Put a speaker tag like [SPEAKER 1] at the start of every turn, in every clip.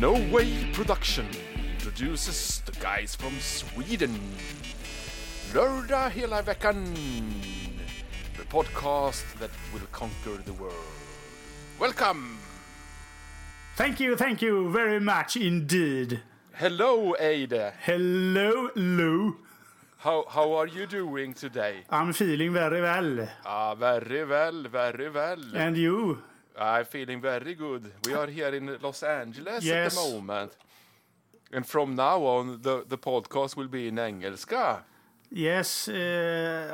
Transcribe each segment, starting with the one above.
[SPEAKER 1] No Way Production produces the guys from Sweden. Lördag hela veckan. The podcast that will conquer the world. Welcome!
[SPEAKER 2] Thank you, thank you very much indeed.
[SPEAKER 1] Hello Aide!
[SPEAKER 2] Hello, Lou.
[SPEAKER 1] How, how are you doing today?
[SPEAKER 2] I'm feeling very well.
[SPEAKER 1] Ah, very well, very well.
[SPEAKER 2] And you?
[SPEAKER 1] I'm feeling very good. We are here in Los Angeles at
[SPEAKER 2] Yes.
[SPEAKER 1] the moment. And from now on, the, the podcast will be in engelska.
[SPEAKER 2] Yes, uh,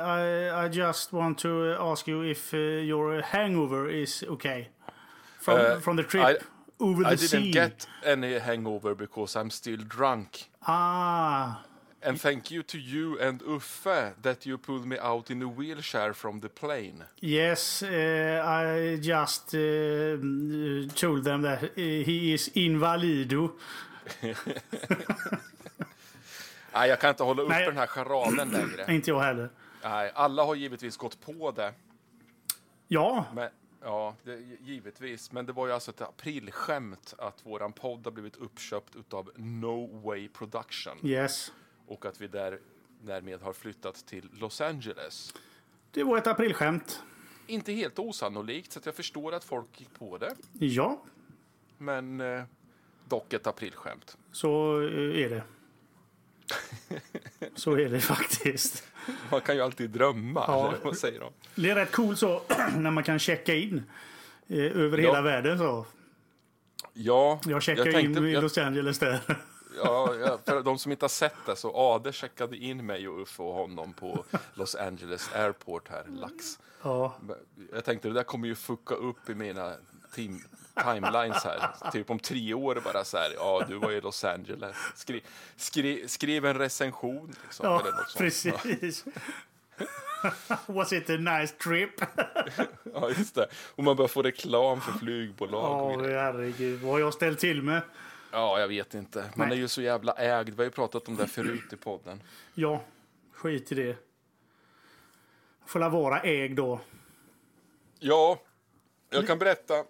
[SPEAKER 2] I, I just want to ask you if uh, your hangover is okay from
[SPEAKER 1] Uh,
[SPEAKER 2] from the trip
[SPEAKER 1] I-
[SPEAKER 2] over the
[SPEAKER 1] I
[SPEAKER 2] sea.
[SPEAKER 1] didn't get any hangover because I'm still drunk.
[SPEAKER 2] Ah,
[SPEAKER 1] And thank you to you and Uffe that you pulled me out in a wheelchair from the plane.
[SPEAKER 2] yes. Uh, I just uh, told them that uh, he is invalido.
[SPEAKER 1] Nej, jag kan inte hålla upp
[SPEAKER 2] Nej.
[SPEAKER 1] den här charaden längre.
[SPEAKER 2] Inte jag heller.
[SPEAKER 1] Nej, alla har givetvis gått på det.
[SPEAKER 2] Ja,
[SPEAKER 1] Men, ja, det, givetvis. Men det var ju alltså ett aprilskämt att våran podd har blivit uppköpt utav No Way Production
[SPEAKER 2] yes.
[SPEAKER 1] och att vi där, därmed har flyttat till Los Angeles.
[SPEAKER 2] Det var ett aprilskämt.
[SPEAKER 1] Inte helt osannolikt, så att jag förstår att folk gick på det.
[SPEAKER 2] Ja,
[SPEAKER 1] Men eh, dock ett aprilskämt.
[SPEAKER 2] Så eh, är det. Så är det faktiskt.
[SPEAKER 1] Man kan ju alltid drömma.
[SPEAKER 2] Ja.
[SPEAKER 1] eller Vad säger de?
[SPEAKER 2] Det är rätt coolt så när man kan checka in eh, över
[SPEAKER 1] Ja.
[SPEAKER 2] hela världen. Så.
[SPEAKER 1] Ja,
[SPEAKER 2] Jag checkar
[SPEAKER 1] tänkte-
[SPEAKER 2] in i
[SPEAKER 1] jag-
[SPEAKER 2] Los Angeles där.
[SPEAKER 1] Ja, ja, för de som inte har sett det så Ade checkade in mig och Uffe och honom på Los Angeles Airport här, lax.
[SPEAKER 2] Ja,
[SPEAKER 1] Jag tänkte det där kommer ju fucka upp i mina tim- timelines här. Typ om tre år bara så här, ja du var i Los Angeles. Skri- skri- skriv en recension liksom,
[SPEAKER 2] ja
[SPEAKER 1] eller något sånt.
[SPEAKER 2] precis. Was it a nice trip?
[SPEAKER 1] Ja, just det. Och man börjar få reklam för flygbolag och
[SPEAKER 2] Ja,
[SPEAKER 1] grejer.
[SPEAKER 2] herregud. Vad har jag ställt till med?
[SPEAKER 1] Ja, jag vet inte. Man
[SPEAKER 2] Nej.
[SPEAKER 1] är ju så jävla ägd. Vi har ju pratat om det förut i podden.
[SPEAKER 2] Ja, skit i det. Får la vara ägd då.
[SPEAKER 1] Ja, jag kan berätta.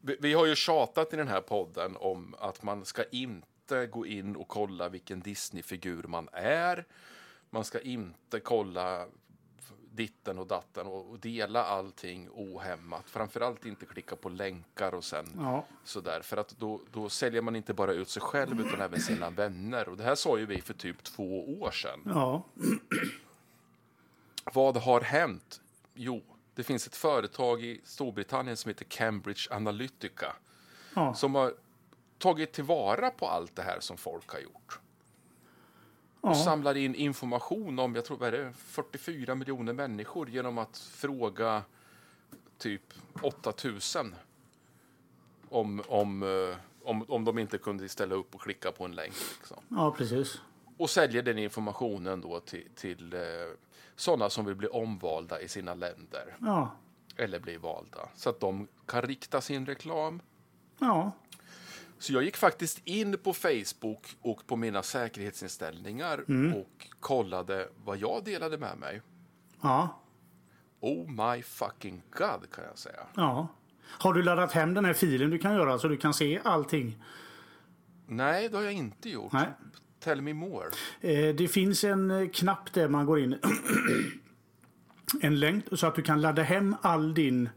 [SPEAKER 1] Vi, vi har ju tjatat i den här podden om att man ska inte gå in och kolla vilken Disney-figur man är. Man ska inte kolla ditten och datten och och dela allting ohämmat. Framförallt inte klicka på länkar och sen
[SPEAKER 2] Ja,
[SPEAKER 1] sådär. För att då, då säljer man inte bara ut sig själv utan även sina vänner. Och det här sa ju vi för typ två år sedan.
[SPEAKER 2] ja.
[SPEAKER 1] Vad har hänt? Jo, det finns ett företag i Storbritannien som heter Cambridge Analytica
[SPEAKER 2] Ja.
[SPEAKER 1] som har tagit tillvara på allt det här som folk har gjort
[SPEAKER 2] ja.
[SPEAKER 1] och samlar in information om jag tror, vad är det, 44 miljoner människor genom att fråga typ 8000 om, om, eh, om, om de inte kunde ställa upp och klicka på en länk. Liksom.
[SPEAKER 2] ja precis.
[SPEAKER 1] Och säljer den informationen då till, till eh, sådana som vill bli omvalda i sina länder.
[SPEAKER 2] Ja.
[SPEAKER 1] eller bli valda så att de kan rikta sin reklam.
[SPEAKER 2] ja,
[SPEAKER 1] Så jag gick faktiskt in på Facebook och på mina säkerhetsinställningar och kollade vad jag delade med mig.
[SPEAKER 2] ja,
[SPEAKER 1] Oh my fucking god kan jag säga.
[SPEAKER 2] ja. Har du laddat hem den här filen du kan göra så du kan se allting?
[SPEAKER 1] Nej, det har jag inte gjort.
[SPEAKER 2] Nej.
[SPEAKER 1] Tell me more.
[SPEAKER 2] Eh, Det finns en eh, knapp där man går in. en länk så att du kan ladda hem all din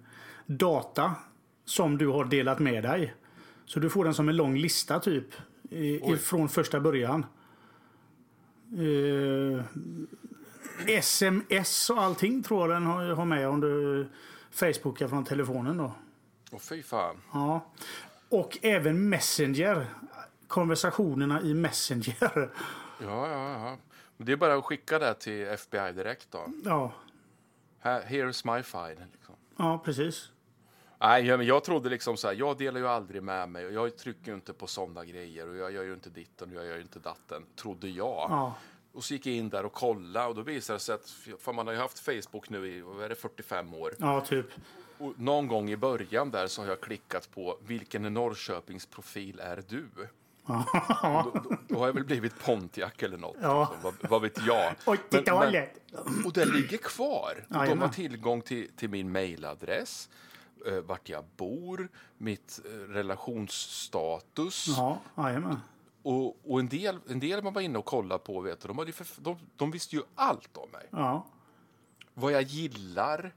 [SPEAKER 2] data som du har delat med dig. Så du får den som en lång lista typ. eh, Från första början. Eh, Sms och allting tror jag den har har med om du Facebookar från telefonen då.
[SPEAKER 1] Och fy fan.
[SPEAKER 2] Ja. Och även Messenger. Konversationerna i Messenger.
[SPEAKER 1] Ja, ja, ja. Men det är bara att skicka det till FBI direkt då.
[SPEAKER 2] Ja, här
[SPEAKER 1] Här- Here's my file. Liksom.
[SPEAKER 2] ja precis.
[SPEAKER 1] Nej, jag, men jag trodde liksom så här, jag delar ju aldrig med mig och jag trycker ju inte på sådana grejer och jag gör ju inte ditten och jag gör ju inte datten, trodde jag.
[SPEAKER 2] Ja.
[SPEAKER 1] Och så gick jag in där och kollade och då visade det sig att för man har ju haft Facebook nu i vad är det, 45 år.
[SPEAKER 2] ja, typ.
[SPEAKER 1] Och någon gång i början där så har jag klickat på vilken i Norrköpings profil är du? Och Då, då, då har jag väl blivit Pontiac eller något.
[SPEAKER 2] Ja.
[SPEAKER 1] Liksom. Vad, vad vet jag?
[SPEAKER 2] Oj,
[SPEAKER 1] Men-
[SPEAKER 2] titta
[SPEAKER 1] men-
[SPEAKER 2] hållet!
[SPEAKER 1] och det ligger kvar. Och de har
[SPEAKER 2] Jajamän.
[SPEAKER 1] tillgång till, till min mejladress. eh, vart jag bor, mitt eh, relationsstatus.
[SPEAKER 2] Ja, jajamän.
[SPEAKER 1] Och, och en, del, en del man var inne och kollade på, vet du, de, hade ju för, de, de visste ju allt om mig.
[SPEAKER 2] Ja.
[SPEAKER 1] Vad jag gillar.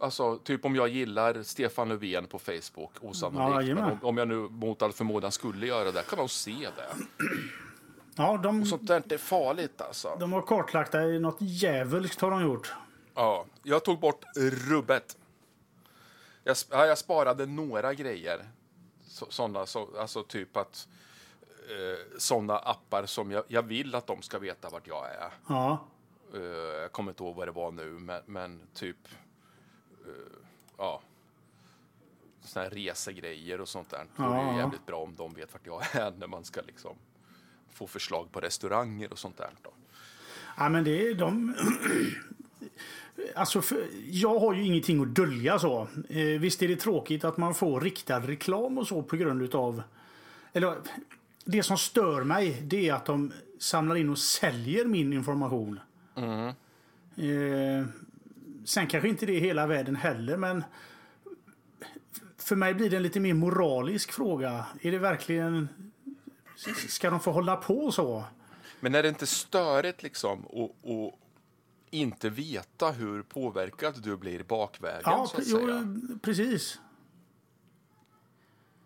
[SPEAKER 1] Alltså, typ om jag gillar Stefan Löfven på Facebook,
[SPEAKER 2] Ja,
[SPEAKER 1] osannolikt.
[SPEAKER 2] jajamän.
[SPEAKER 1] men om, om jag nu mot all förmodan skulle göra det, kan de se det.
[SPEAKER 2] Ja, de,
[SPEAKER 1] Sånt där är farligt alltså.
[SPEAKER 2] de har kartlagt dig något djävulskt har de gjort.
[SPEAKER 1] Ja, jag tog bort rubbet. Jag, sp- ja, jag sparade några grejer. Så, såna, så, alltså typ att eh, såna appar som jag, jag vill att de ska veta vart jag är.
[SPEAKER 2] Ja,
[SPEAKER 1] Eh, jag kommer inte ihåg vad det var nu, men, men typ... eh, ja. Såna här resegrejer och sånt där. Det är
[SPEAKER 2] Ja.
[SPEAKER 1] ju jävligt bra om de vet vart jag är när man ska liksom få förslag på restauranger och sånt där. Då.
[SPEAKER 2] ja men det är de... Alltså, för, jag har ju ingenting att dölja så. Eh, visst är det tråkigt att man får riktad reklam och så på grund utav... Eller, det som stör mig det är att de samlar in och säljer min information.
[SPEAKER 1] Mm.
[SPEAKER 2] Eh, sen kanske inte det är hela världen heller, men för mig blir det en lite mer moralisk fråga. Är det verkligen... Ska de få hålla på så?
[SPEAKER 1] Men är det inte störigt liksom att, att inte veta hur påverkad du blir bakvägen?
[SPEAKER 2] Ja,
[SPEAKER 1] så
[SPEAKER 2] pre-
[SPEAKER 1] att säga?
[SPEAKER 2] jo, precis.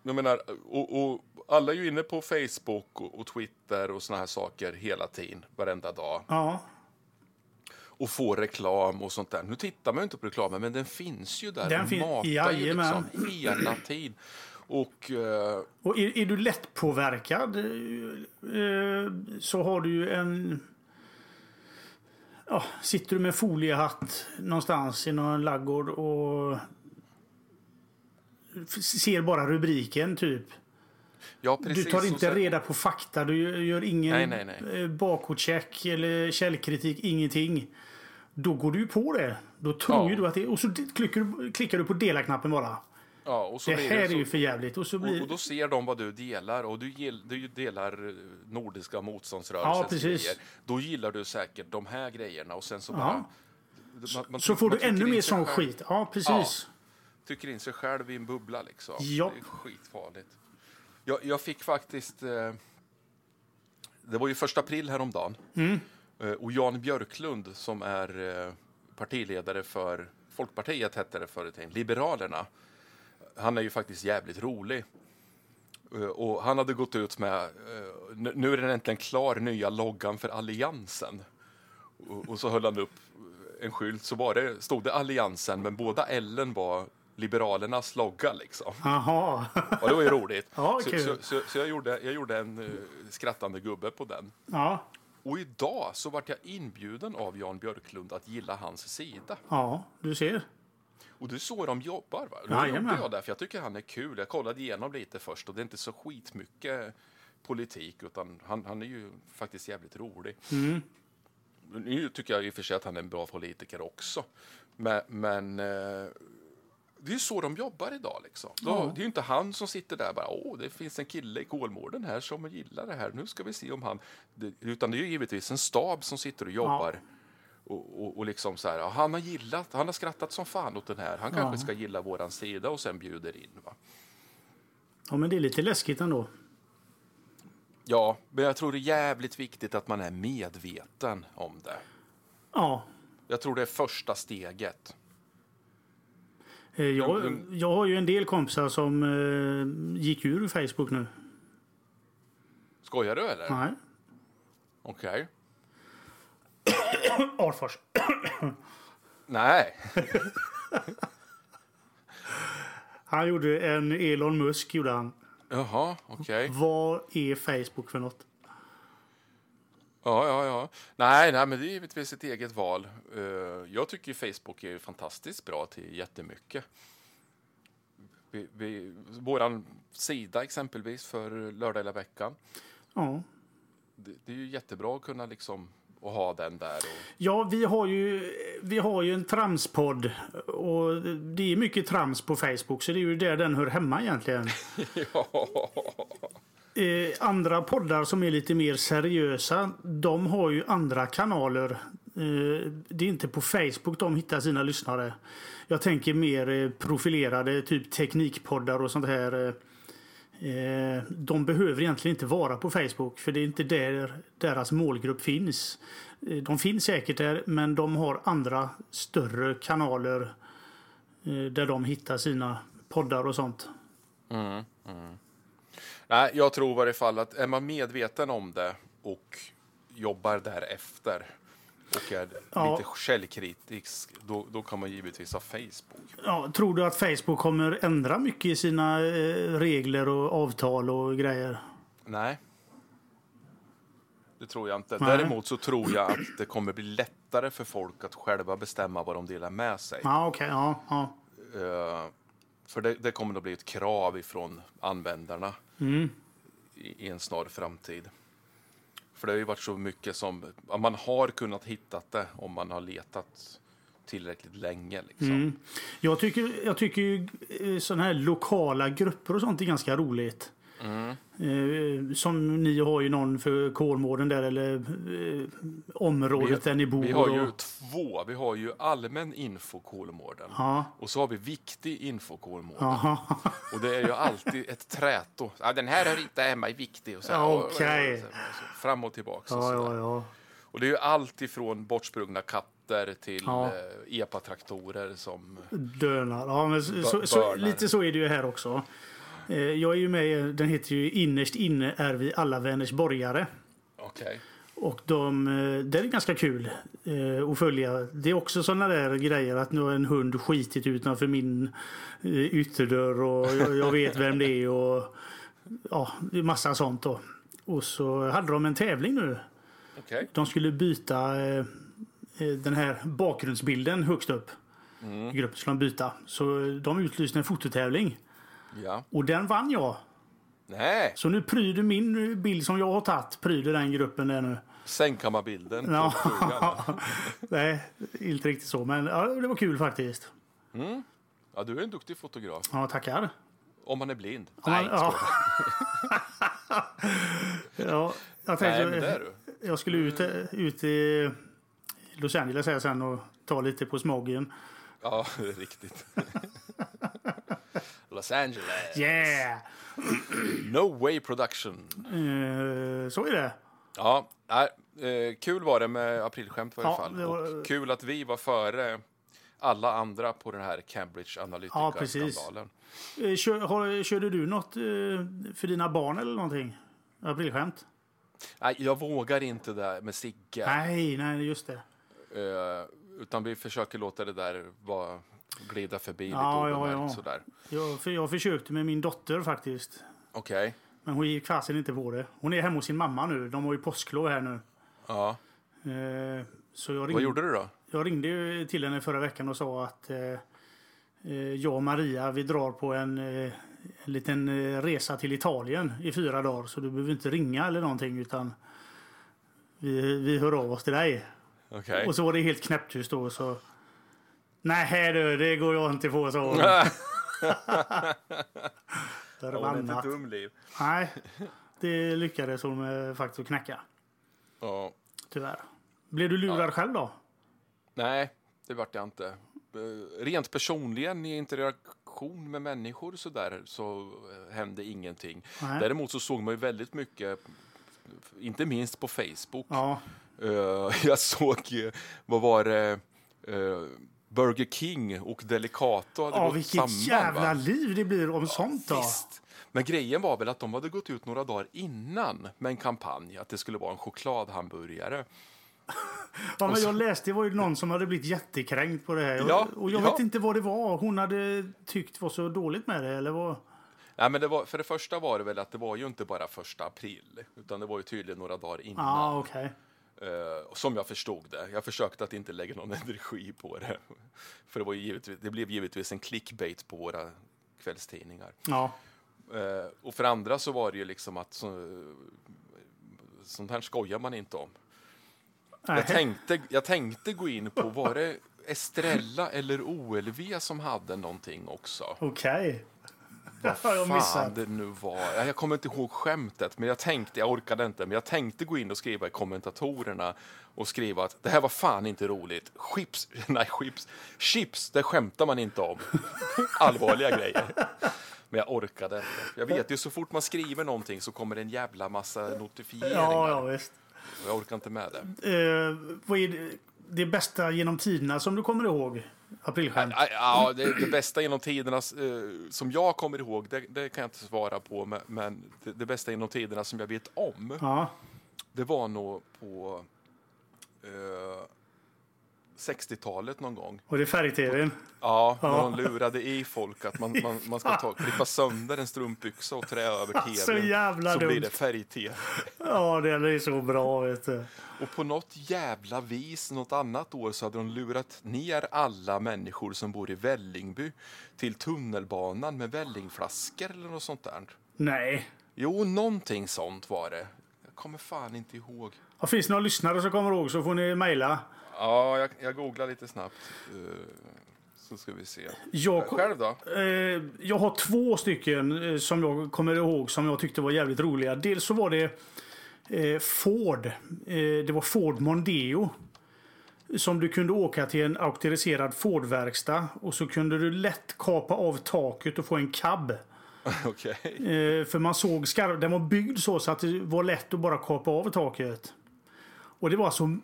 [SPEAKER 1] Jag menar, och, och alla är ju inne på Facebook och, och Twitter och såna här saker hela tiden, varenda dag.
[SPEAKER 2] Ja,
[SPEAKER 1] Och får reklam och sånt där. Nu tittar man ju inte på reklamen, men den finns ju där.
[SPEAKER 2] Den
[SPEAKER 1] och
[SPEAKER 2] fin-
[SPEAKER 1] matar ju
[SPEAKER 2] Jajamän.
[SPEAKER 1] liksom hela tiden. Och eh,
[SPEAKER 2] Och är, är du lättpåverkad eh, eh, så har du ju en... Ja, sitter du med foliehatt någonstans i någon laggård och f- ser bara rubriken typ.
[SPEAKER 1] ja, precis.
[SPEAKER 2] du tar
[SPEAKER 1] som
[SPEAKER 2] inte
[SPEAKER 1] sagt-
[SPEAKER 2] reda på fakta, du gör ingen
[SPEAKER 1] Nej, nej,
[SPEAKER 2] eh, bakåtcheck eller källkritik, ingenting. Då går du ju på det. Då tror
[SPEAKER 1] Ja.
[SPEAKER 2] ju du att det Och så klickar du, klickar du på dela-knappen bara.
[SPEAKER 1] Ja, och så
[SPEAKER 2] Det
[SPEAKER 1] blir
[SPEAKER 2] här är
[SPEAKER 1] så-
[SPEAKER 2] ju för jävligt. Och så
[SPEAKER 1] Och,
[SPEAKER 2] blir...
[SPEAKER 1] och då ser de vad du delar och du, gill, du delar eh, Nordiska
[SPEAKER 2] Ja,
[SPEAKER 1] motståndsrörelsens
[SPEAKER 2] precis.
[SPEAKER 1] grejer. Då gillar du säkert de här grejerna och sen så bara...
[SPEAKER 2] Ja.
[SPEAKER 1] Man, man
[SPEAKER 2] Så
[SPEAKER 1] tyck-
[SPEAKER 2] får
[SPEAKER 1] man
[SPEAKER 2] du
[SPEAKER 1] tycker
[SPEAKER 2] ännu
[SPEAKER 1] in
[SPEAKER 2] mer
[SPEAKER 1] sig
[SPEAKER 2] sån
[SPEAKER 1] själv-
[SPEAKER 2] skit. Ja, precis.
[SPEAKER 1] Tycker in sig själv i en bubbla liksom.
[SPEAKER 2] Ja.
[SPEAKER 1] Det är skitfarligt. Jag, jag fick faktiskt... Eh, det var ju första april häromdagen. Eh, och Jan Björklund som är eh, partiledare för Folkpartiet hette det förut, Liberalerna. Han är ju faktiskt jävligt rolig. Eh, Och han hade gått ut med, eh, nu- nu är den äntligen klar, nya loggan för Alliansen. Och, och så höll han upp en skylt, så var det, stod det Alliansen, men båda L'en var Liberalernas logga liksom.
[SPEAKER 2] Jaha.
[SPEAKER 1] Och det var ju roligt.
[SPEAKER 2] Ja,
[SPEAKER 1] så
[SPEAKER 2] kul.
[SPEAKER 1] så, så, så jag, gjorde, jag gjorde en eh, skrattande gubbe på den.
[SPEAKER 2] Ja.
[SPEAKER 1] Och idag så vart jag inbjuden av Jan Björklund att gilla hans sida.
[SPEAKER 2] ja, du ser.
[SPEAKER 1] Och det är så de jobbar. Va? Då
[SPEAKER 2] Jajamän.
[SPEAKER 1] gjorde jag det, för jag tycker han är kul. Jag kollade igenom lite först och det är inte så skitmycket politik utan han, han är ju faktiskt jävligt rolig. Nu tycker jag i och för sig att han är en bra politiker också. Men, men eh, det är ju så de jobbar idag. Liksom. Då, Det är ju inte han som sitter där bara åh, det finns en kille i Kolmården här som gillar det här. Nu ska vi se om han... Det, utan det är ju givetvis en stab som sitter och jobbar. Och, och, och liksom så här, ja, han har gillat, han har skrattat som fan åt den här. Han kanske ska gilla våran sida och sen bjuder in. Va?
[SPEAKER 2] Ja, men det är lite läskigt ändå.
[SPEAKER 1] Ja, men jag tror det är jävligt viktigt att man är medveten om det.
[SPEAKER 2] Ja.
[SPEAKER 1] Jag tror det är första steget.
[SPEAKER 2] Eh, Jag, jag har ju en del kompisar som eh, gick ur Facebook nu.
[SPEAKER 1] Skojar du eller?
[SPEAKER 2] Nej.
[SPEAKER 1] Okej.
[SPEAKER 2] Artfors.
[SPEAKER 1] Nej.
[SPEAKER 2] Han gjorde en Elon Musk. Gjorde han.
[SPEAKER 1] Jaha, okej.
[SPEAKER 2] Vad är Facebook för något?
[SPEAKER 1] Ja, ja, ja. Nej, nej, men det är givetvis ett eget val. Eh, jag tycker ju Facebook är ju fantastiskt bra till jättemycket. Vi, vi, våran sida exempelvis för lördag hela veckan.
[SPEAKER 2] Ja.
[SPEAKER 1] Det, det är ju jättebra att kunna liksom och ha den där. Och,
[SPEAKER 2] Ja, vi har ju, vi har ju en tramspodd. Och det är mycket trams på Facebook, så det är ju där den hör hemma egentligen. eh, andra poddar som är lite mer seriösa, de har ju andra kanaler Eh, Det är inte på Facebook de hittar sina lyssnare. Jag tänker mer eh, profilerade, typ teknikpoddar och sånt här. eh, eh, De behöver egentligen inte vara på Facebook för det är inte där deras målgrupp finns. Eh, De finns säkert där men de har andra större kanaler eh, där de hittar sina poddar och sånt.
[SPEAKER 1] Nej, jag tror i varje fall att är man medveten om det och jobbar därefter och är
[SPEAKER 2] Ja.
[SPEAKER 1] lite källkritisk, då, då kan man givetvis ha Facebook.
[SPEAKER 2] Ja, tror du att Facebook kommer ändra mycket i sina eh, regler och avtal och grejer?
[SPEAKER 1] Nej. Det tror jag inte.
[SPEAKER 2] Nej.
[SPEAKER 1] Däremot så tror jag att det kommer bli lättare för folk att själva bestämma vad de delar med sig.
[SPEAKER 2] Ja, okej. ja, ja.
[SPEAKER 1] Eh, för det, det kommer att bli ett krav ifrån användarna
[SPEAKER 2] Mm.
[SPEAKER 1] i, i en snar framtid. För det har ju varit så mycket som ja, man har kunnat hitta det om man har letat tillräckligt länge. Liksom.
[SPEAKER 2] Mm. Jag tycker, jag tycker ju sådana här lokala grupper och sånt är ganska roligt. Eh, Som ni har ju någon för Kolmården där eller eh, området där ni bor.
[SPEAKER 1] Vi har ju
[SPEAKER 2] och,
[SPEAKER 1] två. Vi har ju allmän info Kolmården
[SPEAKER 2] ja,
[SPEAKER 1] och så har vi viktig info Kolmården.
[SPEAKER 2] aha,
[SPEAKER 1] Och det är ju alltid ett träto. Ja, den här har inte hemma i viktig. Och så här,
[SPEAKER 2] Ja, okej.
[SPEAKER 1] och så Fram och tillbaka. och
[SPEAKER 2] ja,
[SPEAKER 1] så
[SPEAKER 2] ja,
[SPEAKER 1] där.
[SPEAKER 2] ja.
[SPEAKER 1] Och det är ju allt ifrån bortsprungna katter till
[SPEAKER 2] Ja.
[SPEAKER 1] eh, epatraktorer som...
[SPEAKER 2] Dönar. Ja, men så, så, så,
[SPEAKER 1] börnar.
[SPEAKER 2] lite så är det ju här också. Eh, Jag är ju med, i- den heter ju Innerst inne är vi alla vänners borgare.
[SPEAKER 1] Okej.
[SPEAKER 2] Och de, eh, det är ganska kul eh, att följa. Det är också sådana där grejer att nu har en hund skitit utanför min eh, ytterdörr och jag, jag vet vem det är och ja, det är massa sånt då. Och så hade de en tävling nu.
[SPEAKER 1] okej.
[SPEAKER 2] De skulle byta eh, eh, den här bakgrundsbilden högst upp. I gruppen skulle de byta. Så de utlyste en fototävling
[SPEAKER 1] Ja.
[SPEAKER 2] och den vann jag.
[SPEAKER 1] Nej,
[SPEAKER 2] Så nu pryder min bild som jag har tagit pryder den gruppen där nu.
[SPEAKER 1] sängkammarbilden. på
[SPEAKER 2] Ja.
[SPEAKER 1] frugan.
[SPEAKER 2] Nej, inte riktigt så. Men ja, det var kul faktiskt.
[SPEAKER 1] ja, du är en duktig fotograf.
[SPEAKER 2] Ja, tackar.
[SPEAKER 1] Om man är blind.
[SPEAKER 2] Man,
[SPEAKER 1] Nej,
[SPEAKER 2] ja. ja, jag
[SPEAKER 1] Nej, men det är
[SPEAKER 2] tänkte
[SPEAKER 1] du.
[SPEAKER 2] jag skulle ut, ut i Los Angeles här sen och ta lite på smogen.
[SPEAKER 1] Ja, det är riktigt. Los Angeles.
[SPEAKER 2] Yeah!
[SPEAKER 1] No way production.
[SPEAKER 2] Eh, så är det.
[SPEAKER 1] Ja, nej, eh, kul var det med aprilskämt i varje
[SPEAKER 2] Ja,
[SPEAKER 1] fall.
[SPEAKER 2] det var-
[SPEAKER 1] Och kul att vi var före alla andra på den här Cambridge
[SPEAKER 2] Ja, precis.
[SPEAKER 1] Analytica-skandalen.
[SPEAKER 2] Eh, kör, har, körde du något eh, för dina barn eller någonting? Aprilskämt?
[SPEAKER 1] nej, jag vågar inte det med Sigge.
[SPEAKER 2] Nej, nej, just det.
[SPEAKER 1] Eh, utan vi försöker låta det där vara, glida förbi
[SPEAKER 2] Ja,
[SPEAKER 1] lite
[SPEAKER 2] ja,
[SPEAKER 1] obemärkt.
[SPEAKER 2] ja.
[SPEAKER 1] Sådär.
[SPEAKER 2] Jag, för jag försökte med min dotter faktiskt.
[SPEAKER 1] Okej.
[SPEAKER 2] Men hon gick fasen inte på det. Hon är hemma hos sin mamma nu. De har ju påsklov här nu.
[SPEAKER 1] Ja.
[SPEAKER 2] Eh, Så jag
[SPEAKER 1] Vad
[SPEAKER 2] ringde,
[SPEAKER 1] gjorde du då?
[SPEAKER 2] jag ringde ju till henne förra veckan och sa att eh, eh, jag och Maria vi drar på en, eh, en liten eh, resa till Italien i fyra dagar. Så du behöver inte ringa eller någonting utan vi, vi hör av oss till dig.
[SPEAKER 1] Okej.
[SPEAKER 2] Och så var det helt knäpptyst då. Så, Nej du, det går jag inte på, så. Förbannat.
[SPEAKER 1] dum, Liv.
[SPEAKER 2] Nej, det lyckades hon eh, faktiskt att knäcka.
[SPEAKER 1] Ja.
[SPEAKER 2] Tyvärr. Blev du lurad själv då?
[SPEAKER 1] Nej, det vart jag inte. Eh, Rent personligen i interaktion med människor så där så eh, hände ingenting.
[SPEAKER 2] Nej.
[SPEAKER 1] Däremot så såg man ju väldigt mycket, inte minst på Facebook.
[SPEAKER 2] Ja,
[SPEAKER 1] Eh, jag såg, eh, vad var det, eh, Burger King och Delicato hade
[SPEAKER 2] ja
[SPEAKER 1] gått
[SPEAKER 2] vilket
[SPEAKER 1] samman.
[SPEAKER 2] jävla
[SPEAKER 1] va?
[SPEAKER 2] liv det blir om sånt då.
[SPEAKER 1] Visst. Men grejen var väl att de hade gått ut några dagar innan med en kampanj att det skulle vara en chokladhamburgare.
[SPEAKER 2] Ja, men jag läste det var ju någon som hade blivit jättekränkt på det här. Och-
[SPEAKER 1] Ja,
[SPEAKER 2] och jag
[SPEAKER 1] ja.
[SPEAKER 2] vet inte vad det var hon hade tyckt var så dåligt med det. Eller vad...
[SPEAKER 1] Nej, men det var, för det första var det väl att det var ju inte bara första april, utan det var ju tydligen några dagar
[SPEAKER 2] Ja,
[SPEAKER 1] innan.
[SPEAKER 2] okej.
[SPEAKER 1] eh, som jag förstod det. Jag försökte att inte lägga någon energi på det. För det, var ju givetvis, det blev givetvis en clickbait på våra kvällstidningar.
[SPEAKER 2] Ja.
[SPEAKER 1] Eh, och för andra så var det ju liksom att så, sånt här skojar man inte om.
[SPEAKER 2] Nej.
[SPEAKER 1] Jag tänkte, jag tänkte gå in på, var det Estrella eller OLV som hade någonting också?
[SPEAKER 2] Okej.
[SPEAKER 1] Vad
[SPEAKER 2] har jag
[SPEAKER 1] fan
[SPEAKER 2] missat.
[SPEAKER 1] det nu var. Jag kommer inte ihåg skämtet, men jag tänkte, jag orkade inte, men jag tänkte gå in och skriva i kommentatorerna och skriva att det här var fan inte roligt. Chips, nej chips, chips, det skämtar man inte om. Allvarliga grejer. Men jag orkade inte. Jag vet ju, så fort man skriver någonting så kommer det en jävla massa notifieringar.
[SPEAKER 2] Ja, ja, visst.
[SPEAKER 1] Jag orkar inte med det.
[SPEAKER 2] Eh, vad är det, det bästa genom tiderna som du kommer ihåg? Aprilskämt.
[SPEAKER 1] Ja, Ja, det, det bästa genom tiderna eh, som jag kommer ihåg, det, det kan jag inte svara på, men, men det, det bästa genom tiderna som jag vet om,
[SPEAKER 2] Ja.
[SPEAKER 1] det var nog på eh, 60-talet någon gång.
[SPEAKER 2] Och det är färg-tvn.
[SPEAKER 1] Ja, när de lurade i folk att man, man, man ska ta, klippa sönder en strumpbyxa och trä över tvn.
[SPEAKER 2] Så jävla
[SPEAKER 1] så blir
[SPEAKER 2] dumt.
[SPEAKER 1] det färg-tv.
[SPEAKER 2] Ja, det är så bra. Vet du.
[SPEAKER 1] Och på något jävla vis, något annat år, så hade de lurat ner alla människor som bor i Vällingby till tunnelbanan med vällingflaskor eller något sånt där.
[SPEAKER 2] Nej.
[SPEAKER 1] Jo, någonting sånt var det. Jag kommer fan inte ihåg.
[SPEAKER 2] Ja, finns det någon lyssnare som kommer ihåg så får ni mejla.
[SPEAKER 1] Ja, jag, jag googlar lite snabbt. Eh, Så ska vi se.
[SPEAKER 2] Jag, ko-
[SPEAKER 1] Själv då?
[SPEAKER 2] eh, jag har två stycken eh, som jag kommer ihåg som jag tyckte var jävligt roliga. Dels så var det eh, Ford. Eh, det var Ford Mondeo. Som du kunde åka till en auktoriserad Ford-verkstad och så kunde du lätt kapa av taket och få en cab.
[SPEAKER 1] Okej.
[SPEAKER 2] Eh, för man såg skarv, den var byggd så, så att det var lätt att bara kapa av taket. Och det var alltså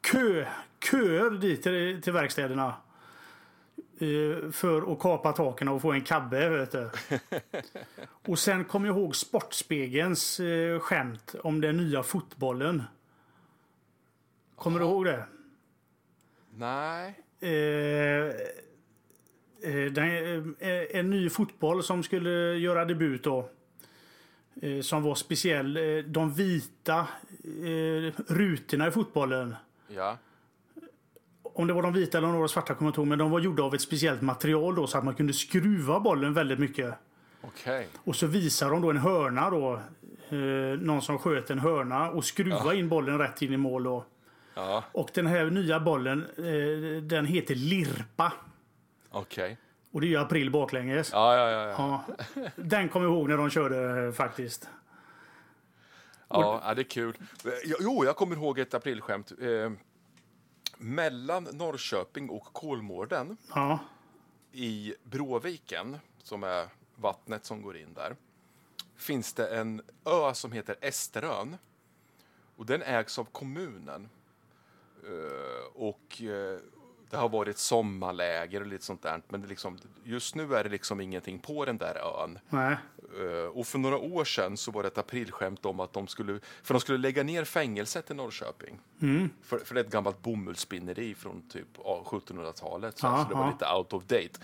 [SPEAKER 2] kö, köer dit till, till verkstäderna. Eh, för att kapa taken och få en kabbe. Vet du. och sen kom jag ihåg Sportspegelns eh, skämt om den nya fotbollen. Kommer du ihåg det?
[SPEAKER 1] Nej.
[SPEAKER 2] Eh, eh, den, eh, en ny fotboll som skulle göra debut då. Eh, som var speciell. Eh, de vita eh, rutorna i fotbollen.
[SPEAKER 1] Ja.
[SPEAKER 2] Om det var de vita eller om det var de svarta kommer jag inte ihåg. Men de var gjorda av ett speciellt material då så att man kunde skruva bollen väldigt mycket.
[SPEAKER 1] Okej.
[SPEAKER 2] Och så visar de då en hörna då. Eh, någon som sköt en hörna och skruva in bollen rätt in i mål då.
[SPEAKER 1] Ja.
[SPEAKER 2] Och den här nya bollen eh, den heter Lirpa.
[SPEAKER 1] Okej.
[SPEAKER 2] Och det är ju april baklänges. Ja.
[SPEAKER 1] Ja, ja, ja. ja.
[SPEAKER 2] Den kommer jag ihåg när de körde eh, faktiskt.
[SPEAKER 1] Ja, ja, det är kul. Jo, Jo, jag kommer ihåg ett aprilskämt. Eh, mellan Norrköping och Kolmården
[SPEAKER 2] Ja.
[SPEAKER 1] i Bråviken, som är vattnet som går in där, finns det en ö som heter Esterön. Och den ägs av kommunen. Eh, och eh, det har varit sommarläger och lite sånt där. Men det liksom, just nu är det liksom ingenting på den där ön.
[SPEAKER 2] Nej.
[SPEAKER 1] Eh, Och för några år sedan så var det ett aprilskämt om att de skulle, för de skulle lägga ner fängelset i Norrköping. För, för det är ett gammalt bomullsspinneri från typ ja, 1700-talet, så,
[SPEAKER 2] Ja,
[SPEAKER 1] så det var
[SPEAKER 2] ja.
[SPEAKER 1] lite out of date.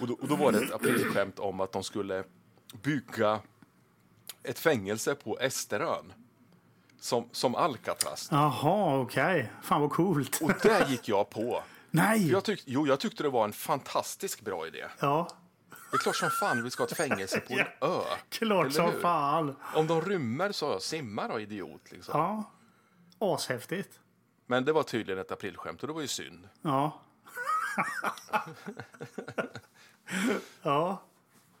[SPEAKER 1] Och då, och då var det ett aprilskämt om att de skulle bygga ett fängelse på Esterön. Som, som Alcatraz.
[SPEAKER 2] Jaha, okej. Fan vad coolt.
[SPEAKER 1] Och det gick jag på.
[SPEAKER 2] Nej!
[SPEAKER 1] Jag tyck, jo, jag tyckte det var en fantastisk bra idé.
[SPEAKER 2] Ja.
[SPEAKER 1] Det är klart som fan vi ska ha ett fängelse på en ö.
[SPEAKER 2] Klart som
[SPEAKER 1] hur?
[SPEAKER 2] fan.
[SPEAKER 1] Om de rymmer så jag simmar då, idiot. Liksom.
[SPEAKER 2] Ja. Ashäftigt.
[SPEAKER 1] Men det var tydligen ett aprilskämt och det var ju synd.
[SPEAKER 2] Ja. ja.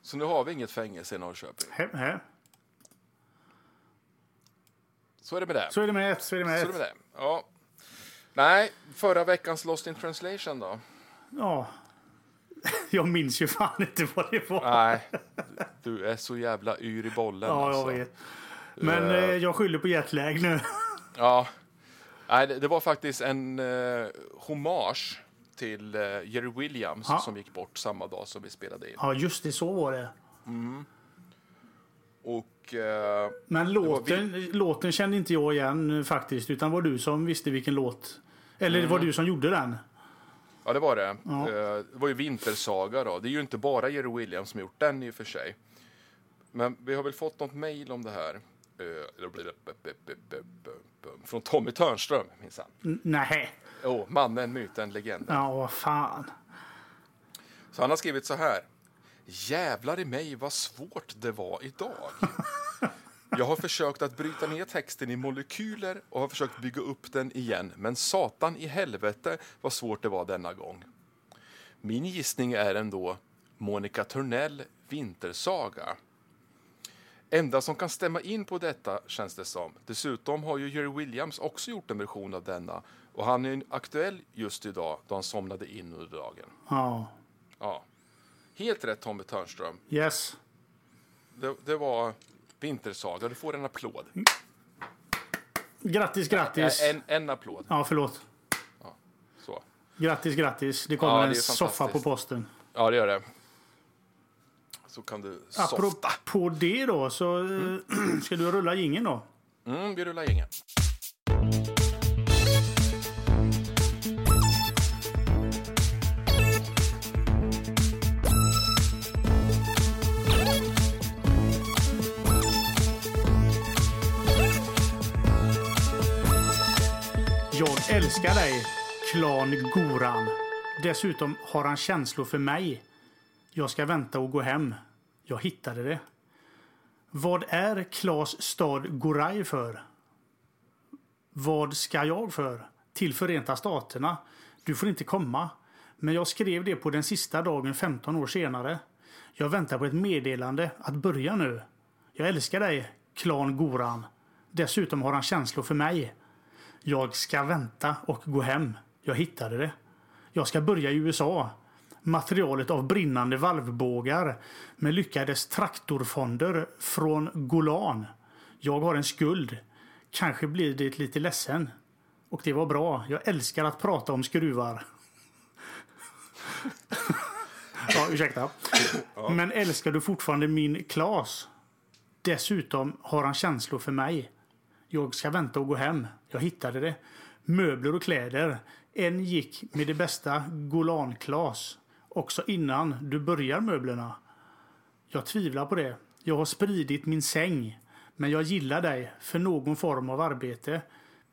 [SPEAKER 1] Så nu har vi inget fängelse i Norrköping.
[SPEAKER 2] Hem, hem.
[SPEAKER 1] Så är det med det. Så
[SPEAKER 2] Så är det med ett, så är det med
[SPEAKER 1] är det med
[SPEAKER 2] ett.
[SPEAKER 1] det. Ja. Nej, förra veckans Lost in translation då?
[SPEAKER 2] Ja. Jag minns ju fan inte vad det var.
[SPEAKER 1] Nej, du är så jävla yr i bollen.
[SPEAKER 2] Ja, jag
[SPEAKER 1] alltså.
[SPEAKER 2] vet. Men eh, jag skyller på jetlag nu.
[SPEAKER 1] Ja. Nej, det, det var faktiskt en eh, hommage till eh, Jerry Williams
[SPEAKER 2] Ja.
[SPEAKER 1] som gick bort samma dag som vi spelade in.
[SPEAKER 2] Ja, just det. Så var det.
[SPEAKER 1] Och eh,
[SPEAKER 2] Men låten, låten kände inte jag igen eh, faktiskt. Utan var du som visste vilken låt. Eller
[SPEAKER 1] Mm.
[SPEAKER 2] det var du som gjorde den.
[SPEAKER 1] Ja, det var det. Eh, Det var ju Vintersaga. Då. Det är ju inte bara Jerry Williams som gjort den. i och för sig. Men vi har väl fått något mejl om det här. Eh, då blir det- Från Tommy Törnström, minsann.
[SPEAKER 2] N- Nej.
[SPEAKER 1] Jo, mannen, myten, legenden.
[SPEAKER 2] Ja, vad fan.
[SPEAKER 1] Så han har skrivit så här. Jävlar i mig vad svårt det var idag. Jag har försökt att bryta ner texten i molekyler och har försökt bygga upp den igen. Men satan i helvete vad svårt det var denna gång. Min gissning är ändå Monica Törnell Vintersaga. Enda som kan stämma in på detta känns det som. Dessutom har ju Jerry Williams också gjort en version av denna och han är aktuell just idag då han somnade in under dagen.
[SPEAKER 2] Ja.
[SPEAKER 1] Ja. Helt rätt Tommy Törnström.
[SPEAKER 2] Yes.
[SPEAKER 1] Det, det var Vintersaga. Du får en applåd.
[SPEAKER 2] Grattis, grattis.
[SPEAKER 1] En, en applåd.
[SPEAKER 2] Ja, förlåt.
[SPEAKER 1] Så.
[SPEAKER 2] Grattis, grattis. Det kommer
[SPEAKER 1] Ja, det är
[SPEAKER 2] en soffa på
[SPEAKER 1] fantastiskt.
[SPEAKER 2] posten.
[SPEAKER 1] Ja, det gör det. Så kan du softa.
[SPEAKER 2] Apropå det då, så eh, ska du rulla jingeln då?
[SPEAKER 1] Mm, vi rullar gängen.
[SPEAKER 2] Jag älskar dig, Klan Goran. Dessutom har han känslor för mig. Jag ska vänta och gå hem. Jag hittade det. Vad är Klas stad Goraj för? Vad ska jag för? Till Förenta Staterna. Du får inte komma. Men jag skrev det på den sista dagen 15 år senare. Jag väntar på ett meddelande att börja nu. Jag älskar dig, Klan Goran. Dessutom har han känslor för mig. Jag ska vänta och gå hem. Jag hittade det. Jag ska börja i USA. Materialet av brinnande valvbågar med lyckades traktorfonder från Golan. Jag har en skuld. Kanske blir det lite ledsen. Och det var bra. Jag älskar att prata om skruvar. ja, ursäkta. Men älskar du fortfarande min Klas? Dessutom har han känslor för mig. Jag ska vänta och gå hem. Jag hittade det. Möbler och kläder. En gick med det bästa Golanklas. Också innan du börjar möblerna. Jag tvivlar på det. Jag har spridit min säng. Men jag gillar dig för någon form av arbete.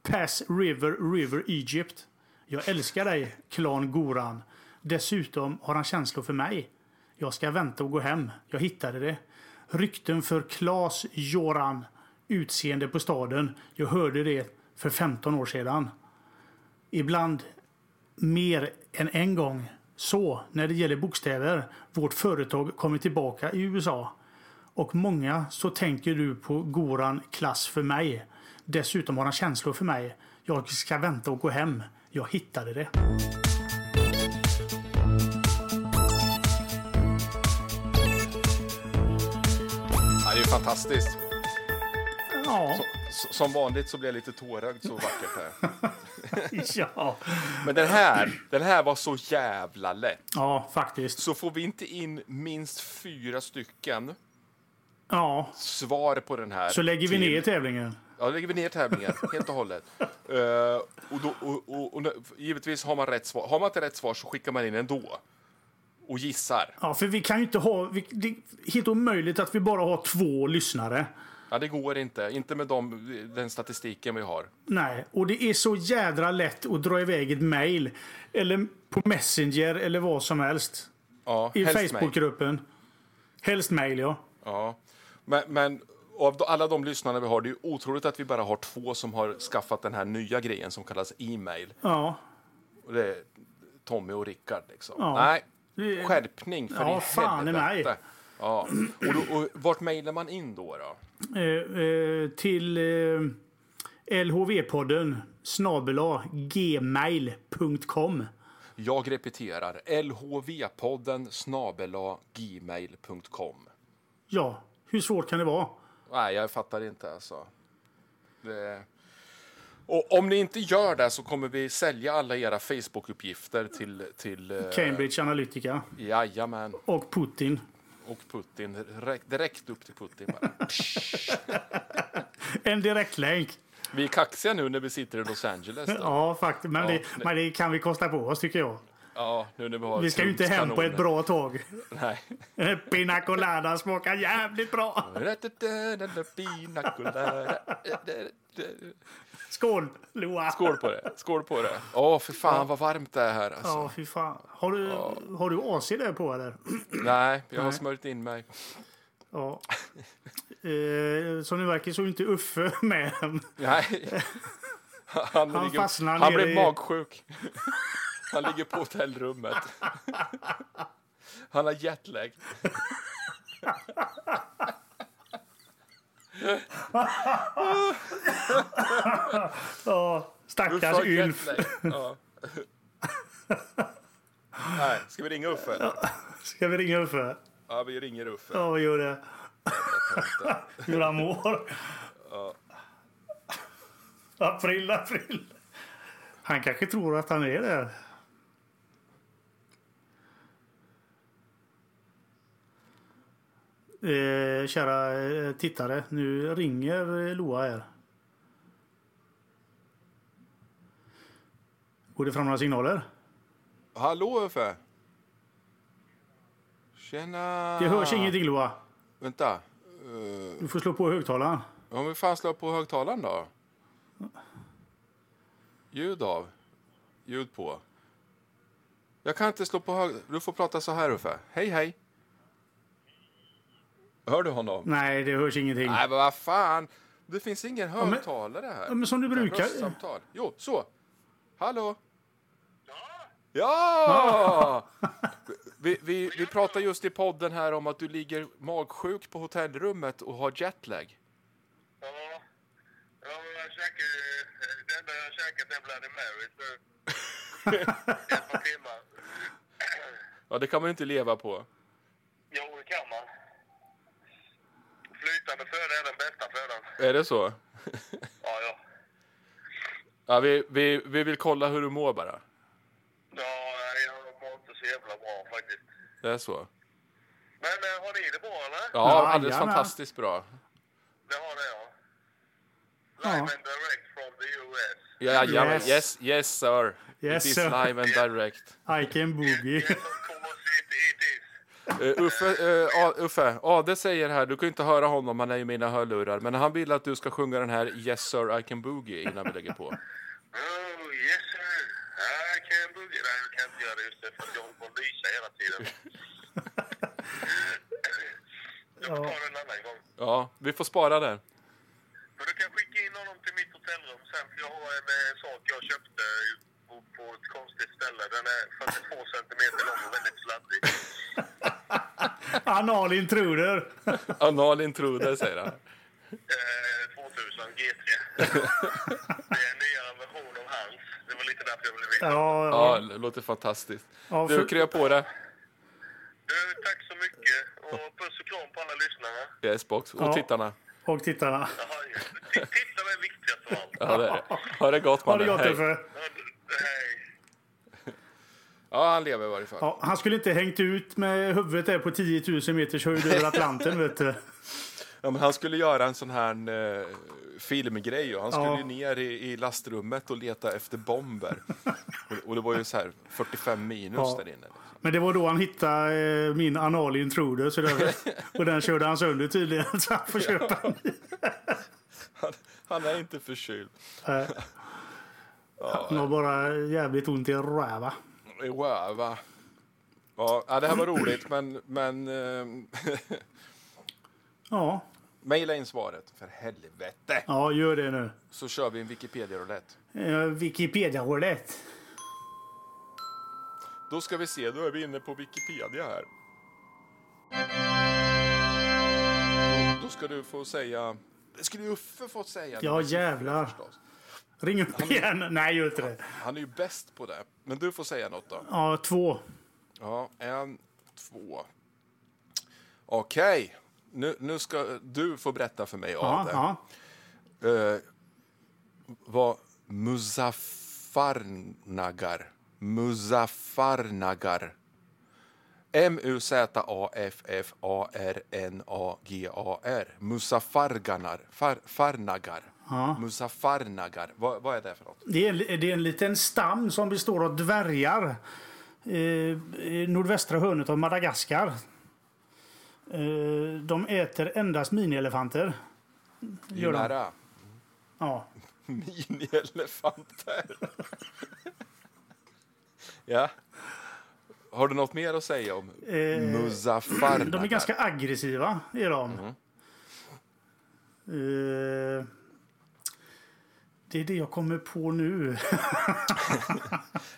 [SPEAKER 2] Pass River River Egypt. Jag älskar dig, Klan Goran. Dessutom har han känslor för mig. Jag ska vänta och gå hem. Jag hittade det. Rykten för Klas Joran. Utseende på staden. Jag hörde det för 15 år sedan. Ibland mer än en gång. Så, när det gäller bokstäver, vårt företag kommer tillbaka i USA. Och många så tänker du på Goran klass för mig. Dessutom har han känslor för mig. Jag ska vänta och gå hem. Jag hittade det.
[SPEAKER 1] Ja, det är ju fantastiskt.
[SPEAKER 2] Ja,
[SPEAKER 1] S- Som vanligt så blir jag lite tårögd så vackert här.
[SPEAKER 2] ja.
[SPEAKER 1] Men den här, den här var så jävla lätt.
[SPEAKER 2] ja faktiskt.
[SPEAKER 1] Så får vi inte in minst fyra stycken
[SPEAKER 2] Ja,
[SPEAKER 1] svar på den här.
[SPEAKER 2] så lägger vi
[SPEAKER 1] till-
[SPEAKER 2] ner tävlingen.
[SPEAKER 1] Ja, då lägger vi ner tävlingen helt och hållet. Eh, och då, och, och, och, givetvis har man rätt svar. Har man inte rätt svar så skickar man in ändå. Och gissar.
[SPEAKER 2] Ja, för vi kan ju inte ha... Vi, det är helt omöjligt att vi bara har två lyssnare.
[SPEAKER 1] Ja, det går inte. Inte med de, den statistiken vi har.
[SPEAKER 2] Nej, och det är så jädra lätt att dra iväg ett mail. Eller på Messenger eller vad som helst.
[SPEAKER 1] Ja,
[SPEAKER 2] I
[SPEAKER 1] helst mig.
[SPEAKER 2] Facebookgruppen. Helst mail, ja.
[SPEAKER 1] Ja. Men, men av de- alla de lyssnarna vi har, det är ju otroligt att vi bara har två som har skaffat den här nya grejen som kallas e-mail.
[SPEAKER 2] Ja,
[SPEAKER 1] Och det är Tommy och Rickard. Liksom.
[SPEAKER 2] Ja.
[SPEAKER 1] Nej,
[SPEAKER 2] Det-
[SPEAKER 1] skärpning för
[SPEAKER 2] Ja,
[SPEAKER 1] i
[SPEAKER 2] fan i mig.
[SPEAKER 1] helvete. Ja. Och, då, och vart mejlar man in då? då?
[SPEAKER 2] eh, eh, till eh, LHV-podden snabela gmail.com.
[SPEAKER 1] Jag repeterar. lhvpodden snabela gmail.com.
[SPEAKER 2] Ja, hur svårt kan det vara?
[SPEAKER 1] Eh. Nej, jag fattar inte alltså. Det... Och om ni inte gör det så kommer vi sälja alla era Facebook-uppgifter till... till eh,
[SPEAKER 2] Cambridge Analytica
[SPEAKER 1] Jajamän.
[SPEAKER 2] och Putin.
[SPEAKER 1] Och Putin. Direkt, direkt upp till Putin. Bara.
[SPEAKER 2] En direktlänk.
[SPEAKER 1] Vi är kaxiga nu när vi sitter i Los Angeles. Då.
[SPEAKER 2] Ja, faktiskt. Men,
[SPEAKER 1] Ja,
[SPEAKER 2] det,
[SPEAKER 1] det-
[SPEAKER 2] men det kan vi kosta på oss, tycker jag.
[SPEAKER 1] Ja, nu när vi har
[SPEAKER 2] Vi ska ju inte hem på ett
[SPEAKER 1] kanoner.
[SPEAKER 2] bra tag.
[SPEAKER 1] Nej.
[SPEAKER 2] Eh, Pina colada smakar jävligt bra.
[SPEAKER 1] Pina colada.
[SPEAKER 2] Skål, Loa.
[SPEAKER 1] Skål på det. Skål på det. Åh, för fan vad varmt det är här. Alltså.
[SPEAKER 2] Ja, fy fan. Har du, har du AC där på eller?
[SPEAKER 1] Nej, jag har
[SPEAKER 2] Nej.
[SPEAKER 1] smörjt in mig.
[SPEAKER 2] Ja. Eh, som det verkar så är inte Uffe med.
[SPEAKER 1] Nej. Han,
[SPEAKER 2] Han
[SPEAKER 1] ligger,
[SPEAKER 2] fastnar
[SPEAKER 1] han
[SPEAKER 2] nere
[SPEAKER 1] blev
[SPEAKER 2] i-
[SPEAKER 1] magsjuk. Han ligger på hotellrummet. Han har jetlag.
[SPEAKER 2] Ja, stackars
[SPEAKER 1] Uffe har
[SPEAKER 2] Ylf.
[SPEAKER 1] jetlag. Ja. Nej, ska vi ringa Uffe? eller?
[SPEAKER 2] Ska vi ringa Uffe?
[SPEAKER 1] Ja, vi ringer Uffe.
[SPEAKER 2] Ja, vi gör det. Hur han mår. April, april. Han kanske tror att han är där. Eh, kära eh, tittare, nu ringer eh, Loa här. Går det fram några signaler?
[SPEAKER 1] Hallå Uffe! Tjena!
[SPEAKER 2] Det hörs ingenting Loa.
[SPEAKER 1] Vänta.
[SPEAKER 2] Du får slå på högtalaren.
[SPEAKER 1] Om vi fan slår på högtalaren då? Ljud av. Ljud på. Jag kan inte slå på hög... Du får prata så här Uffe. Hej hej! Hör du honom?
[SPEAKER 2] Nej, det hörs ingenting.
[SPEAKER 1] Nej men vad fan! Det finns ingen högtalare här.
[SPEAKER 2] Ja, Men som du
[SPEAKER 1] Det är
[SPEAKER 2] brukar.
[SPEAKER 1] Röstsamtal. Jo, så. Hallå? Ja! Vi, vi, vi pratar just i podden här om att du ligger magsjuk på hotellrummet och har jetlag.
[SPEAKER 3] Ja, ja men jag käkar ju... Det enda jag käkat är Bloody Mary, så... ett par timmar.
[SPEAKER 1] Ja, det kan man ju inte leva på.
[SPEAKER 3] Jo, det kan man. Flytande föda är den bästa födan.
[SPEAKER 1] Är det så?
[SPEAKER 3] Ja, ja.
[SPEAKER 1] Ja, vi, vi, vi vill kolla hur du mår bara.
[SPEAKER 3] Ja, nej, jag mår inte så jävla bra faktiskt.
[SPEAKER 1] Det är så.
[SPEAKER 3] Men eh, har ni det bra eller?
[SPEAKER 1] Ja, alldeles
[SPEAKER 2] jajamän.
[SPEAKER 1] fantastiskt bra.
[SPEAKER 3] Det har det ja.
[SPEAKER 2] Ja.
[SPEAKER 3] Live and direct from the US.
[SPEAKER 1] Ja, ja,
[SPEAKER 2] Yes.
[SPEAKER 1] yes. yes, sir.
[SPEAKER 2] Yes,
[SPEAKER 1] It is
[SPEAKER 2] sir.
[SPEAKER 1] live and direct.
[SPEAKER 2] I can boogie.
[SPEAKER 3] Yes, of E course it, it is.
[SPEAKER 1] Eh, Uffe, eh, A- Uffe, Ade säger här, du kan ju inte höra honom, han är ju i mina hörlurar, men han vill att du ska sjunga den här Yes sir I can boogie innan vi lägger på.
[SPEAKER 3] Oh, yes sir. I can boogie. Nej, jag kan inte göra det just det, för att jag håller på att lysa hela tiden. Jag får ta det en annan gång.
[SPEAKER 1] Ja, vi får spara den.
[SPEAKER 3] Men du kan skicka in honom till mitt hotellrum sen, för jag har en eh, sak jag köpte på, på ett konstigt ställe. Den är 42 centimeter lång och väldigt sladdig.
[SPEAKER 2] Anal intruder.
[SPEAKER 1] Anal intruder, säger han.
[SPEAKER 3] Eh, 2000 GT. Det är en nyare version av hans. Det var lite därför jag blev
[SPEAKER 2] Ja,
[SPEAKER 3] veta.
[SPEAKER 1] Ja,
[SPEAKER 2] ja.
[SPEAKER 1] det låter fantastiskt.
[SPEAKER 2] Ja,
[SPEAKER 1] Du,
[SPEAKER 2] för-
[SPEAKER 1] krya på det.
[SPEAKER 3] Du, tack så mycket och puss och kram på alla lyssnarna.
[SPEAKER 1] Yes, box. Och
[SPEAKER 2] Ja.
[SPEAKER 1] tittarna.
[SPEAKER 2] Och tittarna.
[SPEAKER 3] Jaha, just det. Titt- Titta vad är viktigast av allt.
[SPEAKER 1] Ja, det är det. Ha det gott,
[SPEAKER 2] Ha det
[SPEAKER 1] mannen.
[SPEAKER 2] gott
[SPEAKER 1] Hej.
[SPEAKER 2] Uffe.
[SPEAKER 3] Ja, d- Hej.
[SPEAKER 1] Ja, han lever i varje fall.
[SPEAKER 2] Ja, han skulle inte hängt ut med huvudet där på 10 000 meters höjd över Atlanten. vet du.
[SPEAKER 1] Ja, men han skulle göra en sån här eh, filmgrej och han skulle
[SPEAKER 2] Ja.
[SPEAKER 1] ju ner i, i lastrummet och leta efter bomber. och, och det var ju så här 45 minus
[SPEAKER 2] Ja.
[SPEAKER 1] där inne. liksom.
[SPEAKER 2] Men det var då han hittade eh, min anal intruder. Så det, och den körde han sönder tydligen. Så han får köpa en ny.
[SPEAKER 1] Han, han är inte förkyld.
[SPEAKER 2] Eh, Han har bara jävligt ont i röva.
[SPEAKER 1] Wow, va? Ja, ja, det här var roligt, men... men ehm,
[SPEAKER 2] Ja,
[SPEAKER 1] Maila in svaret, för helvete!
[SPEAKER 2] ja gör det nu.
[SPEAKER 1] Så kör vi en Wikipedia-roulette.
[SPEAKER 2] Eh, Wikipedia-hålet.
[SPEAKER 1] Då ska vi se, då är vi inne på Wikipedia här. Då- Då ska du få säga... Det skulle ju Uffe fått säga.
[SPEAKER 2] Ja, jävlar.
[SPEAKER 1] förstås.
[SPEAKER 2] Ring upp igen. Nej, gör inte det.
[SPEAKER 1] Han är ju bäst på det. Men du får säga något då.
[SPEAKER 2] Ja, två.
[SPEAKER 1] Ja, en, två. Okej, nu, nu ska du få berätta för mig,
[SPEAKER 2] Ja,
[SPEAKER 1] Ade.
[SPEAKER 2] ja.
[SPEAKER 1] eh, var Muzaffarnagar. Muzaffarnagar. M-U-Z-A-F-F-A-R-N-A-G-A-R. Muzaffarganar. Far, farnagar. Muzaffarnagar. Vad, vad är det för något?
[SPEAKER 2] Det är, en- det är en liten stam som består av dvärgar. Eh, i nordvästra hörnet av Madagaskar. Eh, de äter endast minielefanter. Gör de.
[SPEAKER 1] Nära.
[SPEAKER 2] Ja.
[SPEAKER 1] Minielefanter. ja. Har du något mer att säga om Muzaffarnagar?
[SPEAKER 2] De Eh, är ganska aggressiva,
[SPEAKER 1] Mm.
[SPEAKER 2] är de. Eh, Det är det jag kommer på nu.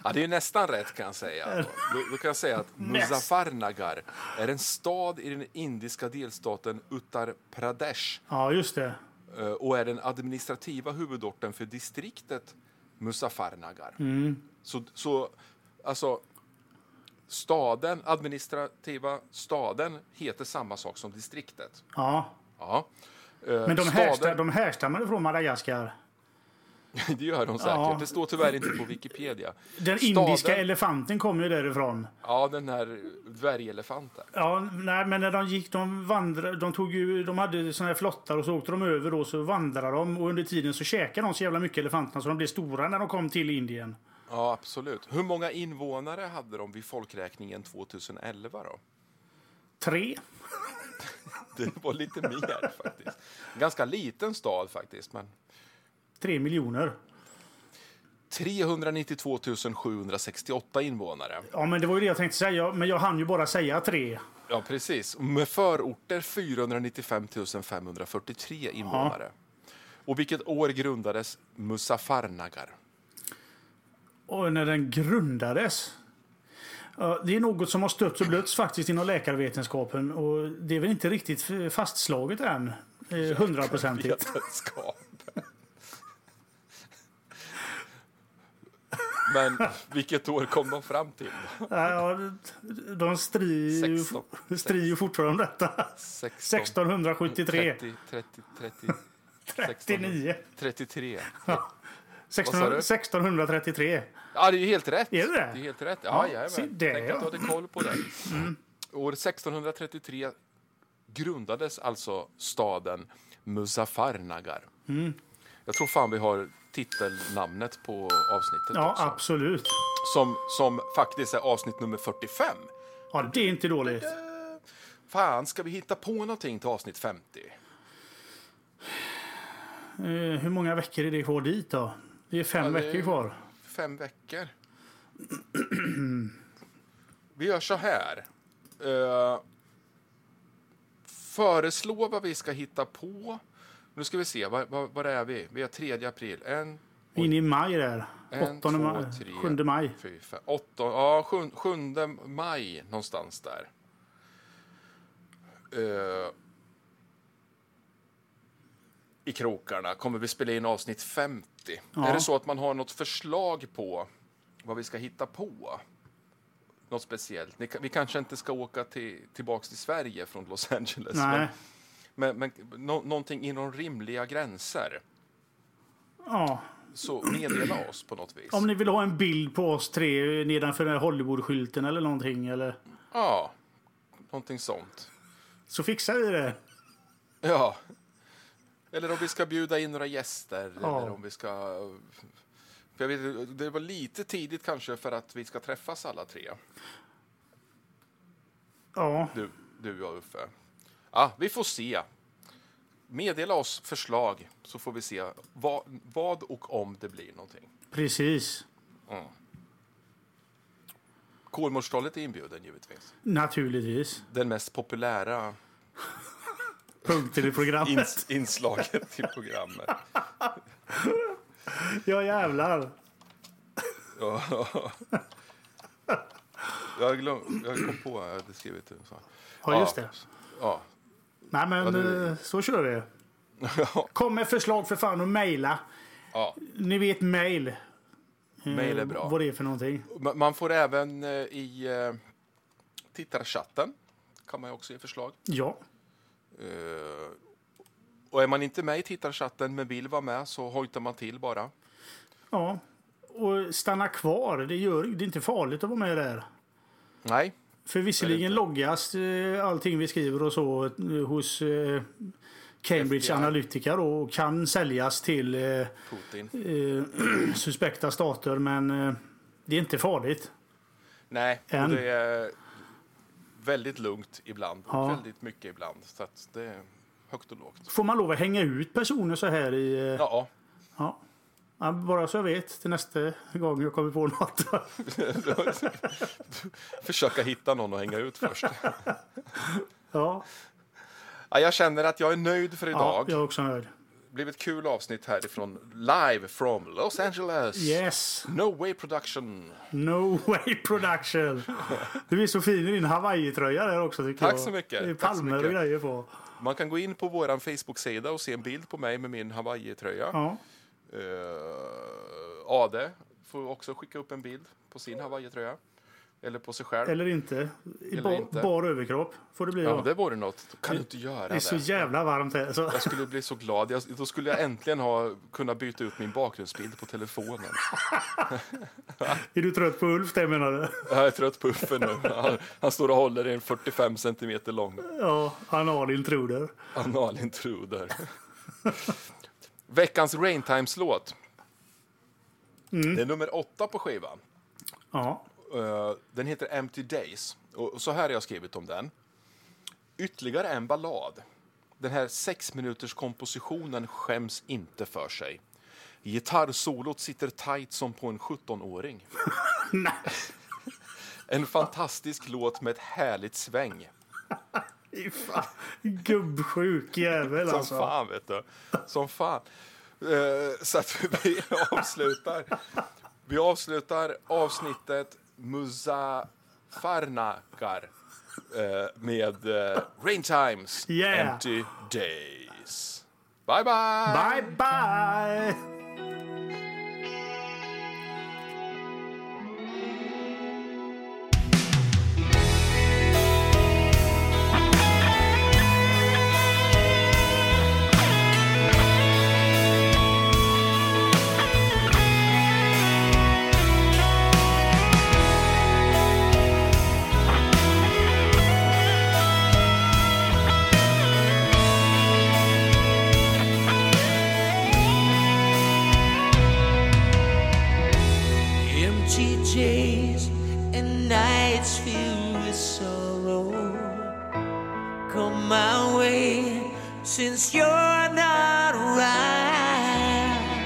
[SPEAKER 1] Ja, det är ju nästan rätt kan jag säga. Du, du kan säga att Muzaffarnagar är en stad i den indiska delstaten Uttar Pradesh
[SPEAKER 2] ja, just det.
[SPEAKER 1] eh, och är den administrativa huvudorten för distriktet Muzaffarnagar.
[SPEAKER 2] Mm.
[SPEAKER 1] Så, så alltså staden, administrativa staden heter samma sak som distriktet.
[SPEAKER 2] Ja.
[SPEAKER 1] Ja. Eh,
[SPEAKER 2] Men de, härsta, de härstammar från Madagaskar.
[SPEAKER 1] Det gör de säkert.
[SPEAKER 2] Ja.
[SPEAKER 1] Det står tyvärr inte på Wikipedia.
[SPEAKER 2] Den
[SPEAKER 1] Staden-
[SPEAKER 2] indiska elefanten kommer ju därifrån.
[SPEAKER 1] Ja, den här dvärgelefanten.
[SPEAKER 2] Ja, nej, men när de gick, de vandrade, de tog ju, de hade såna här flottar och så åkte de över och så vandrade de och under tiden så käkade de så jävla mycket elefanterna så de blev stora när de kom till Indien.
[SPEAKER 1] Ja, absolut. Hur många invånare hade de vid folkräkningen 2011 då?
[SPEAKER 2] Tre.
[SPEAKER 1] Det var lite mer faktiskt. Ganska liten stad faktiskt, men
[SPEAKER 2] Tre miljoner.
[SPEAKER 1] 392 768 invånare.
[SPEAKER 2] Ja, men det var ju det jag tänkte säga, jag- men jag hann ju bara säga tre.
[SPEAKER 1] Ja, precis. Med förorter 495 543 invånare. Och vilket år grundades Muzaffarnagar?
[SPEAKER 2] Och när den grundades. Ja, Det är något som har stötts och blötts faktiskt inom läkarvetenskapen och det är väl inte riktigt f- fastslaget än. eh, Hundraprocentigt.
[SPEAKER 1] Vetenskapen. Men vilket år kom de fram till?
[SPEAKER 2] Ja, ja, De strir ju,
[SPEAKER 1] Sexton.
[SPEAKER 2] strir ju fortfarande om detta.
[SPEAKER 1] 16,
[SPEAKER 2] 1673.
[SPEAKER 1] 30, 30, 30, 16,
[SPEAKER 2] 39.
[SPEAKER 1] 33.
[SPEAKER 2] 1600,
[SPEAKER 1] du?
[SPEAKER 2] 1633.
[SPEAKER 1] Ja, det är ju helt rätt.
[SPEAKER 2] Är det det?
[SPEAKER 1] är helt rätt. Ja,
[SPEAKER 2] Ja,
[SPEAKER 1] ja,
[SPEAKER 2] se där, Mm.
[SPEAKER 1] Tänk att
[SPEAKER 2] ja.
[SPEAKER 1] du hade koll på det. År 1633 grundades alltså staden Muzaffarnagar.
[SPEAKER 2] Mm.
[SPEAKER 1] Jag tror fan vi har titelnamnet på avsnittet
[SPEAKER 2] Ja,
[SPEAKER 1] också.
[SPEAKER 2] absolut.
[SPEAKER 1] Som, som faktiskt är avsnitt nummer 45.
[SPEAKER 2] Ja, det är inte dåligt.
[SPEAKER 1] Fan, ska vi hitta på någonting till avsnitt 50?
[SPEAKER 2] Eh, Hur många veckor är det kvar dit då? Det är fem
[SPEAKER 1] det är-
[SPEAKER 2] veckor kvar.
[SPEAKER 1] fem veckor. vi gör så här. Eh, föreslå vad vi ska hitta på. Nu ska vi se, vad, vad, vad är vi? Vi är 3 april. En,
[SPEAKER 2] In i maj där.
[SPEAKER 1] en
[SPEAKER 2] 8 maj. 7 maj.
[SPEAKER 1] Fyra, fem, åtta, ja, 7, maj någonstans där. Eh, I krokarna kommer vi spela in avsnitt 50.
[SPEAKER 2] Ja.
[SPEAKER 1] Är det så att man har något förslag på vad vi ska hitta på? Något speciellt? Ni, kan- vi kanske inte ska åka till, tillbaks till Sverige från Los Angeles.
[SPEAKER 2] Nej.
[SPEAKER 1] Men, men, men nå- någonting inom rimliga gränser.
[SPEAKER 2] Ja.
[SPEAKER 1] Så meddela oss på något vis.
[SPEAKER 2] Om ni vill ha en bild på oss tre nedanför den här Hollywood-skylten eller någonting eller
[SPEAKER 1] Ja, någonting sånt.
[SPEAKER 2] så fixar vi det.
[SPEAKER 1] Ja. Eller om vi ska bjuda in några gäster.
[SPEAKER 2] Ja.
[SPEAKER 1] Eller om vi ska... För jag vet, det var lite tidigt kanske för att vi ska träffas alla tre.
[SPEAKER 2] Ja,
[SPEAKER 1] Du, du och Uffe. Ja, vi får se. Meddela oss förslag så får vi se vad, vad och om det blir någonting.
[SPEAKER 2] precis.
[SPEAKER 1] Kolmårdstalet är inbjuden givetvis.
[SPEAKER 2] Naturligtvis.
[SPEAKER 1] Den mest populära
[SPEAKER 2] Punkten i programmet.
[SPEAKER 1] ins- inslaget i programmet.
[SPEAKER 2] Ja, jävlar.
[SPEAKER 1] Ja. Jag, glöm, jag kom på att jag hade skrivit det. Så.
[SPEAKER 2] Ja, just det.
[SPEAKER 1] Ja.
[SPEAKER 2] Nej, men
[SPEAKER 1] det-
[SPEAKER 2] eh, så kör vi. Kom med förslag för fan och mejla.
[SPEAKER 1] Ja.
[SPEAKER 2] Ni vet mejl. Eh,
[SPEAKER 1] Mejl är bra.
[SPEAKER 2] Vad det är för någonting.
[SPEAKER 1] Ma- Man får även eh, i eh, tittarchatten kan man ju också ge förslag.
[SPEAKER 2] Ja,
[SPEAKER 1] Eh, Och är man inte med i tittarchatten men vill vara med så hojtar man till bara.
[SPEAKER 2] ja. Och stanna kvar. Det, gör, det är inte farligt att vara med där.
[SPEAKER 1] Nej,
[SPEAKER 2] För visserligen loggas eh, allting vi skriver och så eh, hos eh, Cambridge
[SPEAKER 1] FBI.
[SPEAKER 2] Analytica då, och kan säljas till eh,
[SPEAKER 1] Putin.
[SPEAKER 2] eh, suspekta stater men eh, det är inte farligt.
[SPEAKER 1] Nej, och
[SPEAKER 2] En.
[SPEAKER 1] det är väldigt lugnt ibland.
[SPEAKER 2] Ja.
[SPEAKER 1] Väldigt mycket ibland. Så att det är högt och lågt.
[SPEAKER 2] Får man lov att hänga ut personer så här i... eh,
[SPEAKER 1] Ja,
[SPEAKER 2] Ja. Ja, bara så jag vet till nästa gång jag kommer på något.
[SPEAKER 1] försöka hitta någon att hänga ut först.
[SPEAKER 2] ja,
[SPEAKER 1] Ja, jag känner att jag är nöjd för
[SPEAKER 2] ja,
[SPEAKER 1] idag.
[SPEAKER 2] jag är också nöjd.
[SPEAKER 1] blev ett kul avsnitt härifrån live from Los Angeles.
[SPEAKER 2] Yes,
[SPEAKER 1] No way production.
[SPEAKER 2] no way production. Du är så fin i din Hawaii-tröja där också tycker
[SPEAKER 1] Tack
[SPEAKER 2] jag.
[SPEAKER 1] så mycket.
[SPEAKER 2] Det är
[SPEAKER 1] Tack så
[SPEAKER 2] palmer och
[SPEAKER 1] mycket.
[SPEAKER 2] grejer på.
[SPEAKER 1] Man kan gå in på vår Facebook-sida och se en bild på mig med min Hawaii-tröja.
[SPEAKER 2] Ja.
[SPEAKER 1] Eh, Ade får också skicka upp en bild på sin Hawaii-tröja. Eller på sig själv.
[SPEAKER 2] Eller inte. I
[SPEAKER 1] Eller
[SPEAKER 2] bar,
[SPEAKER 1] inte.
[SPEAKER 2] bar överkropp får det bli
[SPEAKER 1] ja,
[SPEAKER 2] då.
[SPEAKER 1] men det vore något. Då kan du inte göra
[SPEAKER 2] Det är
[SPEAKER 1] det.
[SPEAKER 2] så jävla varmt här. Så.
[SPEAKER 1] Jag skulle bli så glad. Jag, då skulle jag äntligen ha kunnat byta ut min bakgrundsbild på telefonen.
[SPEAKER 2] Är du trött på Ulf det menar du?
[SPEAKER 1] Jag är trött på Uffe nu. Han, han står och håller i en 45 centimeter lång
[SPEAKER 2] Ja, analintruder.
[SPEAKER 1] analintruder. Veckans Raintimes-låt. Det är nummer åtta på skivan.
[SPEAKER 2] Ja.
[SPEAKER 1] Eh, Den heter Empty Days. Och så här har jag skrivit om den. Ytterligare en ballad. Den här sex minuters kompositionen skäms inte för sig. Gitarrsolot sitter tight som på en 17-åring.
[SPEAKER 2] Nej.
[SPEAKER 1] En fantastisk låt med ett härligt sväng.
[SPEAKER 2] Fy fan. Gubbsjuk jävel
[SPEAKER 1] Som
[SPEAKER 2] alltså.
[SPEAKER 1] fan, vet du. Som fan. Eh, Så att vi avslutar. Vi avslutar avsnittet Muzafarnakar eh, med eh, Rain Times
[SPEAKER 2] Yeah.
[SPEAKER 1] Empty Days. Bye, bye!
[SPEAKER 2] Bye bye!
[SPEAKER 4] Empty days and nights filled with sorrow come my way since you're not around.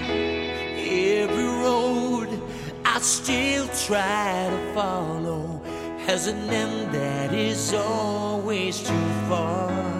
[SPEAKER 4] Every road I still try to follow has an end that is always too far. Oh, Oh, Oh,